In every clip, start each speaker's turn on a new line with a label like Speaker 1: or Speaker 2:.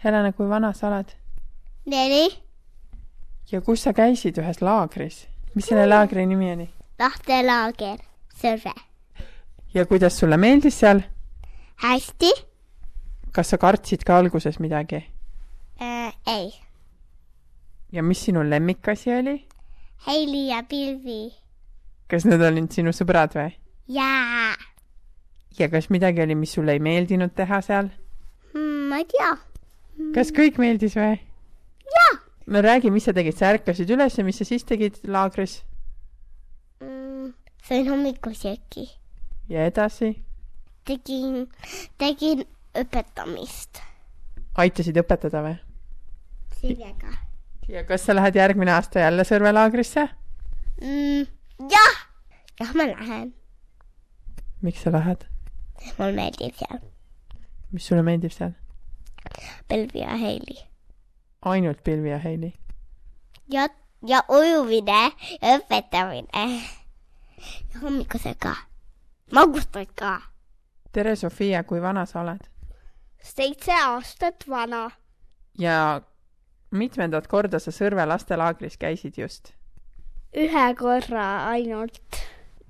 Speaker 1: Helena , kui vana sa oled
Speaker 2: neli ,
Speaker 1: ja kus sa käisid ühes laagris ? mis selle laagri nimi oli
Speaker 2: lahtelaager , Sõrve .
Speaker 1: ja kuidas sulle meeldis seal ?
Speaker 2: hästi
Speaker 1: kas sa kartsid ka alguses midagi
Speaker 2: äh, ? ei .
Speaker 1: ja mis sinu lemmikasi oli ?
Speaker 2: Heili ja Pilvi .
Speaker 1: kas need olid sinu sõbrad või ?
Speaker 2: jaa
Speaker 1: ja kas midagi oli , mis sulle ei meeldinud teha seal ?
Speaker 2: mm, . ma ei tea .
Speaker 1: kas kõik meeldis või ?
Speaker 2: jaa
Speaker 1: no räägi , mis sa tegid , sa ärkasid üles ja mis sa siis tegid laagris
Speaker 2: mm, . sõin hommikusööki .
Speaker 1: ja edasi ?
Speaker 2: tegin , tegin õpetamist
Speaker 1: aitasid õpetada või ?
Speaker 2: Sirjega
Speaker 1: ja kas sa lähed järgmine aasta jälle Sõrve laagrisse ?
Speaker 2: mm, . jah , jah , ma lähen .
Speaker 1: miks sa lähed ?
Speaker 2: mul meeldib seal
Speaker 1: mis sulle meeldib seal ?
Speaker 2: Pilvi ja Heili .
Speaker 1: ainult Pilvi ja Heili .
Speaker 2: ja , ja ujumine ja õpetamine . ja hommikusöök ka . magustoid ka
Speaker 1: tere , Sofia , kui vana sa oled ?
Speaker 2: seitse aastat vana .
Speaker 1: ja mitmendat korda sa Sõrve lastelaagris käisid just ?
Speaker 3: ühe korra ainult .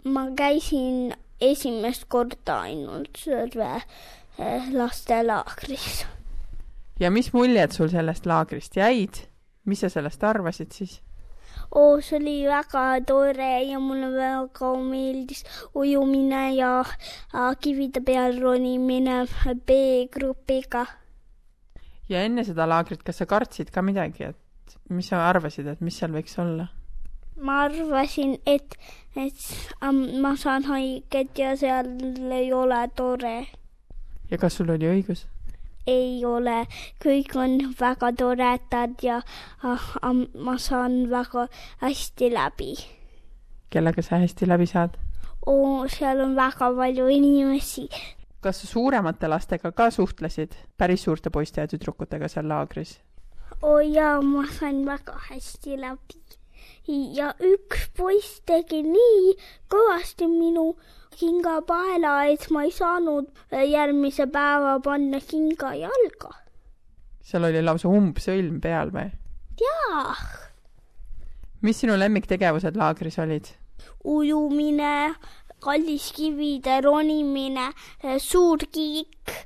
Speaker 3: ma käisin esimest korda ainult Sõrve eh, lastelaagris .
Speaker 1: ja mis muljed sul sellest laagrist jäid ? mis sa sellest arvasid siis ?
Speaker 3: oo , see oli väga tore ja mulle väga meeldis ujumine ja äh, kivide peal ronimine B-grupiga .
Speaker 1: ja enne seda laagrit , kas sa kartsid ka midagi , et mis sa arvasid , et mis seal võiks olla ?
Speaker 3: ma arvasin , et , et ähm, ma saan haiget ja seal ei ole tore
Speaker 1: ja kas sul oli õigus ?
Speaker 3: ei ole , kõik on väga toredad ja ah, am- ma saan väga hästi läbi .
Speaker 1: kellega sa hästi läbi saad ?
Speaker 3: oo , seal on väga palju inimesi .
Speaker 1: kas sa suuremate lastega ka suhtlesid , päris suurte poiste ja tüdrukutega seal laagris ?
Speaker 3: oo jaa , ma sain väga hästi läbi . ja üks poiss tegi nii kõvasti minu kingapaela , et ma ei saanud järgmise päeva panna kinga jalga .
Speaker 1: seal oli lausa umbsõlm peal või ?
Speaker 3: jaa ,
Speaker 1: mis sinu lemmiktegevused laagris olid ?
Speaker 3: ujumine , kalliskivide ronimine , suur kiik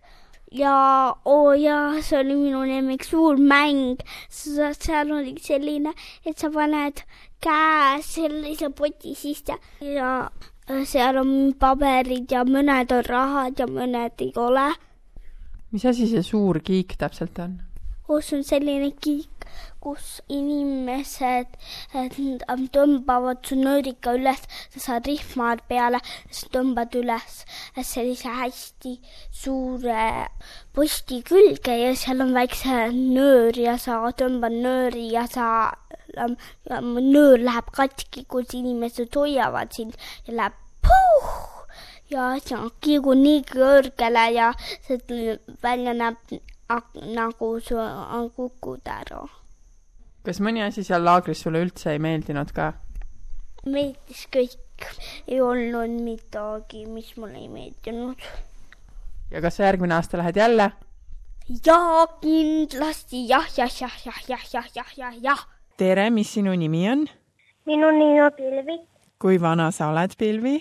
Speaker 3: ja oo oh jaa , see oli minu lemmik , suur mäng . seal oli selline , et sa paned käe sellise poti sisse ja eh, seal on paberid ja mõned on rahad ja mõned ei ole .
Speaker 1: mis asi see suur kiik täpselt on ?
Speaker 3: kus on selline kiik , kus inimesed et nad tõmbavad su nõrika üles , sa saad rihma peale , siis tõmbad üles sellise hästi suure posti külge ja seal on väikse nöör ja sa tõmbad nööri ja sa , nöör läheb katki , kus inimesed hoiavad sind ja läheb puh ja see on kiigu nii kõrgele er, ja see välja näeb ak- nagu see on kukud ära .
Speaker 1: kas mõni asi seal laagris sulle üldse ei meeldinud ka ?
Speaker 3: meeldis kõik , ei olnud midagi , mis mulle ei meeldinud .
Speaker 1: ja kas sa järgmine aasta lähed jälle ?
Speaker 3: ja kindlasti jah , jah , jah , jah , jah , jah , jah , jah , jah .
Speaker 1: tere , mis sinu nimi on ?
Speaker 4: Minu nimi on Pilvi,
Speaker 1: kui vana sa oled , Pilvi ?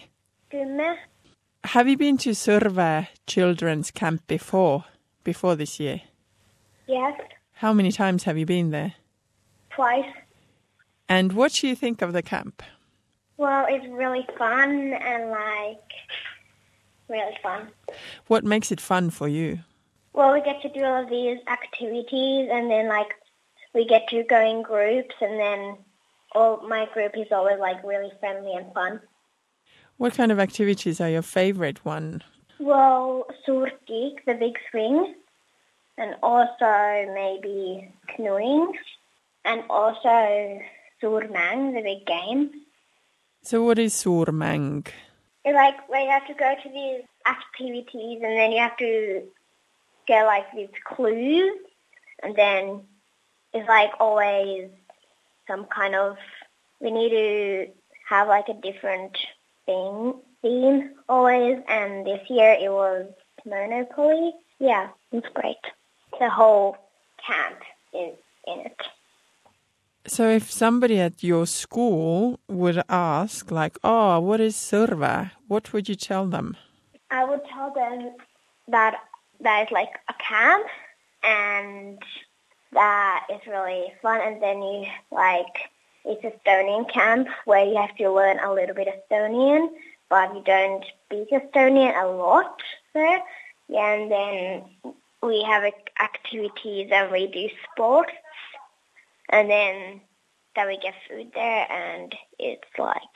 Speaker 4: kümme.
Speaker 1: Have you been to Sõrve Children's Camp before, before this year?
Speaker 4: Yes,
Speaker 1: How many times have you been there?
Speaker 4: twice.
Speaker 1: And what do you think of the camp?
Speaker 4: Well, it's really fun and like really fun.
Speaker 1: What makes it fun for you?
Speaker 4: Well, we get to do all of these activities and then like we get to go in groups and then all my group is always like really friendly and fun.
Speaker 1: What kind of activities are your favorite one?
Speaker 4: Well, Surkik, the big swing, and also maybe canoeing and also Surmang, the big game.
Speaker 1: So what is surmang?
Speaker 4: It's like where you have to go to these activities and then you have to get like these clues and then it's like always some kind of we need to have like a different thing theme always and this year it was Monopoly. Yeah, it's great. The whole camp is in it.
Speaker 1: So if somebody at your school would ask, like, oh, what is Surve? What would you tell them?
Speaker 4: I would tell them that that is like a camp and that is really fun and then you like it's Estonian camp where you have to learn a little bit Estonian but you don't speak Estonian a lot there. Yeah, and then we have ac- activities and we do sports and then then we get food there and it's like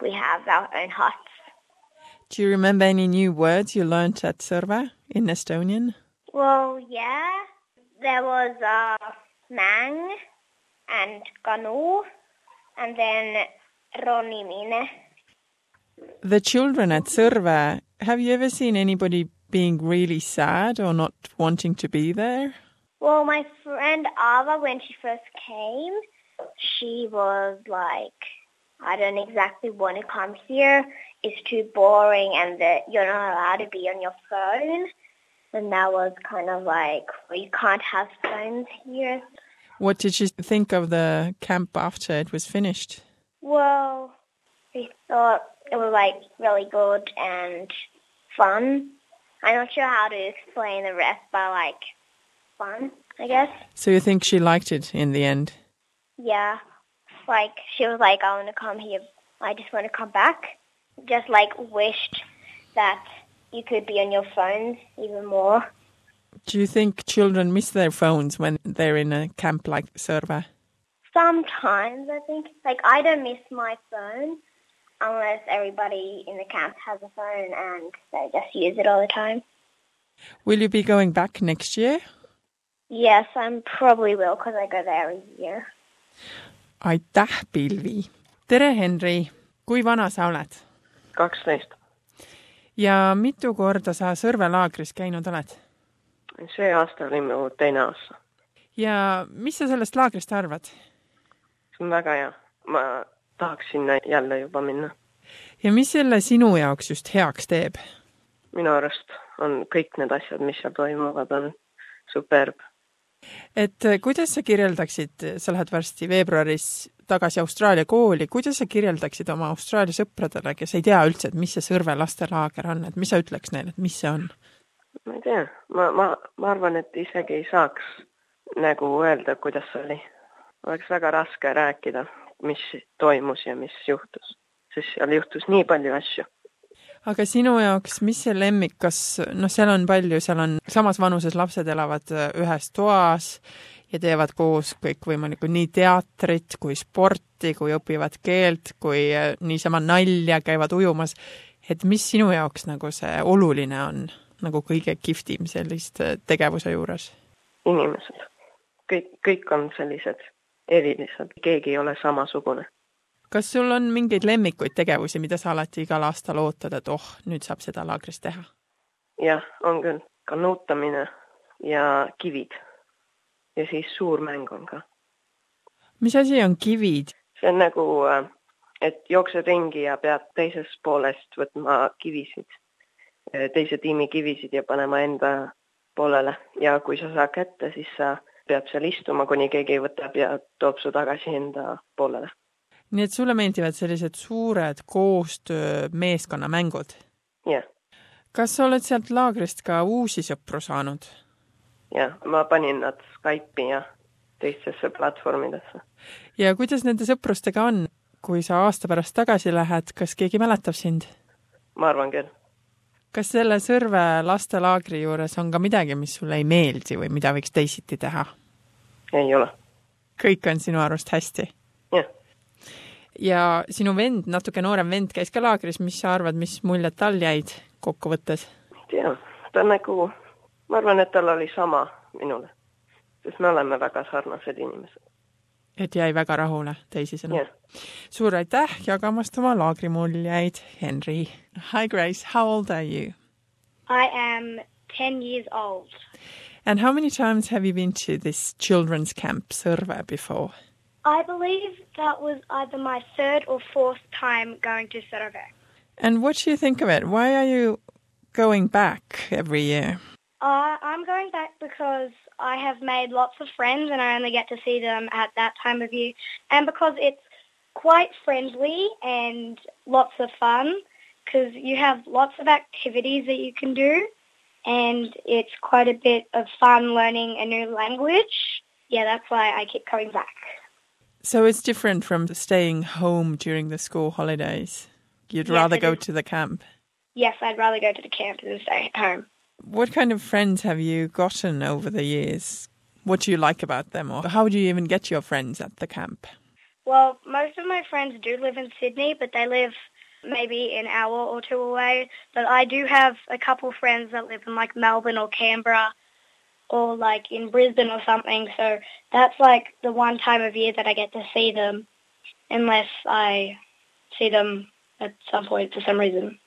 Speaker 4: we have our own huts.
Speaker 1: Do you remember any new words you learnt at Surve in Estonian?
Speaker 4: Well, yeah. There was uh, Mang and Ganu and then Ronimine.
Speaker 1: The children at Surve, have you ever seen anybody being really sad or not wanting to be there?
Speaker 4: Well, my friend Ava, when she first came, she was like, I don't exactly want to come here. It's too boring and that you're not allowed to be on your phone. And that was kind of like, well, you can't have phones here.
Speaker 1: What did you think of the camp after it was finished?
Speaker 4: Well, we thought it was like really good and fun. I'm not sure how to explain the rest, but like fun, I guess.
Speaker 1: So you think she liked it in the end?
Speaker 4: Yeah. Like she was like, I want to come here. I just want to come back. Just like wished that you could be on your phones even more.
Speaker 1: Do you think children miss their phones when they're in a camp like Serva?
Speaker 4: Sometimes I think like I don't miss my phone unless everybody in the camp has a phone and they just use it all the time.
Speaker 1: Will you be going back next year?
Speaker 4: Yes, I'm probably will because I go there every year.
Speaker 1: aitäh , Pilvi! tere , Henri! kui vana sa oled
Speaker 5: kaksteist .
Speaker 1: ja mitu korda sa Sõrve laagris käinud oled
Speaker 5: see aasta oli mu teine aasta .
Speaker 1: ja mis sa sellest laagrist arvad
Speaker 5: see on väga hea . ma tahaks sinna jälle juba minna .
Speaker 1: ja mis selle sinu jaoks just heaks teeb ?
Speaker 5: minu arust on kõik need asjad , mis seal toimuvad , on superb .
Speaker 1: et eh, kuidas sa kirjeldaksid , sa lähed varsti veebruaris tagasi Austraalia kooli , kuidas sa kirjeldaksid oma Austraalia sõpradele , kes ei tea üldse , et mis see Sõrve lastelaager on , et mis sa ütleks neile , et mis see on ?
Speaker 5: ma ei tea , ma , ma , ma arvan , et isegi ei saaks nagu öelda , kuidas see oli . oleks väga raske rääkida , mis toimus ja mis juhtus , sest seal juhtus nii palju asju .
Speaker 1: aga sinu jaoks , mis see lemmik , kas noh , seal on palju , seal on samas vanuses lapsed elavad äh, ühes toas ja teevad koos kõikvõimalikku nii teatrit kui sporti , kui õpivad keelt , kui äh, niisama nalja , käivad ujumas . et mis sinu jaoks nagu see oluline on , nagu kõige kihvtim selliste tegevuse juures ?
Speaker 5: inimesed , kõik , kõik on sellised erilised , keegi ei ole samasugune .
Speaker 1: kas sul on mingeid lemmikuid tegevusi , mida sa alati igal aastal ootad , et oh , nüüd saab seda laagris teha ?
Speaker 5: jah , on küll , kanuutamine ja kivid . ja siis suur mäng on ka .
Speaker 1: mis asi on kivid ?
Speaker 5: see on nagu , et jooksed ringi ja pead teisest poolest võtma kivisid , teise tiimi kivisid ja panema enda poolele ja kui sa saad kätte , siis sa pead seal istuma , kuni keegi võtab ja toob su tagasi enda poolele .
Speaker 1: nii et sulle meeldivad sellised suured koostöö meeskonnamängud .
Speaker 5: jah ,
Speaker 1: kas sa oled sealt laagrist ka uusi sõpru saanud ?
Speaker 5: ja ma panin nad Skype'i ja teistesse platvormidesse .
Speaker 1: ja kuidas nende sõprustega on ? kui sa aasta pärast tagasi lähed , kas keegi mäletab sind ?
Speaker 5: ma arvan küll .
Speaker 1: kas selle Sõrve lastelaagri juures on ka midagi , mis sulle ei meeldi või mida võiks teisiti teha ?
Speaker 5: ei ole .
Speaker 1: kõik on sinu arust hästi ?
Speaker 5: jah ,
Speaker 1: ja sinu vend , natuke noorem vend käis ka laagris , mis sa arvad , mis muljed tal jäid kokkuvõttes ?
Speaker 5: ei tea , ta on nagu , ma arvan , et tal oli sama minule , sest me oleme väga sarnased inimesed .
Speaker 1: et jäi väga rahule , teisisõnu ?
Speaker 5: jah ,
Speaker 1: Suur aitäh jagamast oma laagrimuljeid , Henry . Hi Grace , how old are you?
Speaker 4: I am 10 years old.
Speaker 1: And how many times have you been to this children's camp Sõrve before?
Speaker 4: I believe that was either my third or fourth time going to Sarawak.
Speaker 1: And what do you think of it? Why are you going back every year?
Speaker 4: Uh, I'm going back because I have made lots of friends and I only get to see them at that time of year and because it's quite friendly and lots of fun because you have lots of activities that you can do and it's quite a bit of fun learning a new language. Yeah, that's why I keep coming back.
Speaker 1: So it's different from staying home during the school holidays. You'd
Speaker 4: Yes,
Speaker 1: rather
Speaker 4: it
Speaker 1: go
Speaker 4: is.
Speaker 1: to the camp.
Speaker 4: Yes, I'd rather go to the camp than stay at home.
Speaker 1: What kind of friends have you gotten over the years? What do you like about them, or how do you even get your friends at the camp?
Speaker 4: Well, most of my friends do live in Sydney, but they live maybe an hour or two away. But I do have a couple friends that live in like Melbourne or Canberra or like in Brisbane or something. So that's like the one time of year that I get to see them unless I see them at some point for some reason.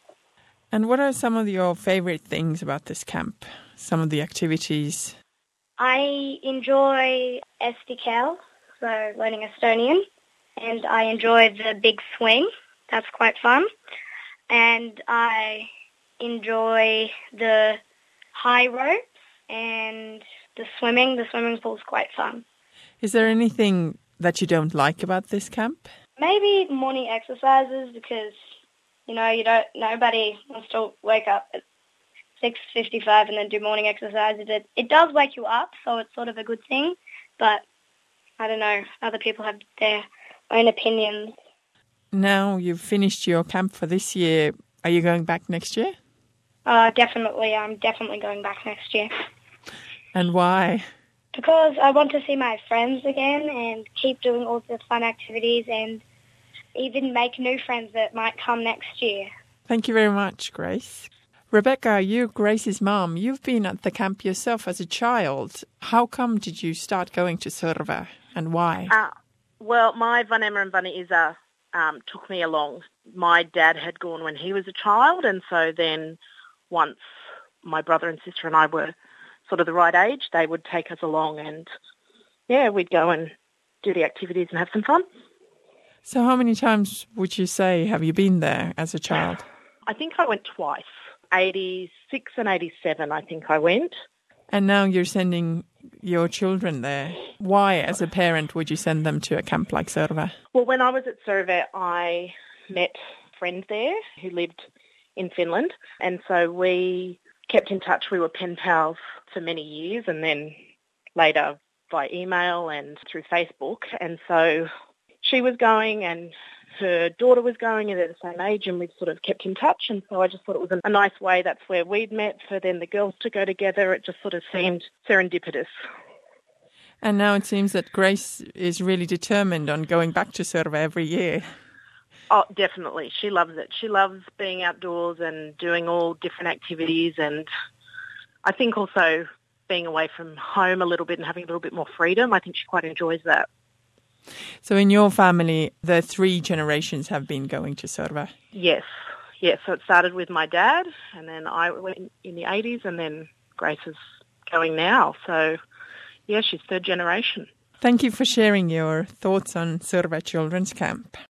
Speaker 1: And what are some of your favorite things about this camp? Some of the activities?
Speaker 4: I enjoy SDKL, so learning Estonian, and I enjoy the big swing. That's quite fun. And I enjoy the high ropes and the swimming. The swimming pool's quite fun.
Speaker 1: Is there anything that you don't like about this camp?
Speaker 4: Maybe morning exercises because you know you don't. Nobody wants to wake up at six fifty-five and then do morning exercises. It it does wake you up, so it's sort of a good thing. But I don't know. Other people have their own opinions.
Speaker 1: Now you've finished your camp for this year. Are you going back next year?
Speaker 4: Uh, definitely, I'm definitely going back next year
Speaker 1: And why?
Speaker 4: because I want to see my friends again and keep doing all the fun activities and even make new friends that might come next year.
Speaker 1: Thank you very much, Grace. Rebecca, you, Grace's mom, you've been at the camp yourself as a child. How come did you start going to Surve and why?
Speaker 6: Uh, well, my Van Emmer and Van Isa um, took me along. My dad had gone when he was a child, and so then once my brother and sister and I were sort of the right age, they would take us along, and yeah, we'd go and do the activities and have some fun.
Speaker 1: So, how many times would you say have you been there as a child?
Speaker 6: I think I went twice, 86 and 87, I think I went.
Speaker 1: And now you're sending your children there. Why, as a parent, would you send them to a camp like Surve?
Speaker 6: Well, when I was at Survey, I met a friend there who lived in Finland, and so we kept in touch. We were pen pals for many years, and then later by email and through Facebook. And so she was going, and her daughter was going, and they're the same age, and we sort of kept in touch. And so I just thought it was a- a nice way. That's where we'd met for then the girls to go together. It just sort of seemed serendipitous.
Speaker 1: And now it seems that Grace is really determined on going back to Surve every year.
Speaker 6: Oh, definitely. She loves it. She loves being outdoors and doing all different activities and I think also being away from home a little bit and having a little bit more freedom. I think she quite enjoys that.
Speaker 1: So, in your family, the three generations have been going to Surve.
Speaker 6: Yes. Yes. So it started with my dad and then I went in the 80s and then Grace is going now. So yeah, she's third generation.
Speaker 1: Thank you for sharing your thoughts on Surve Children's Camp.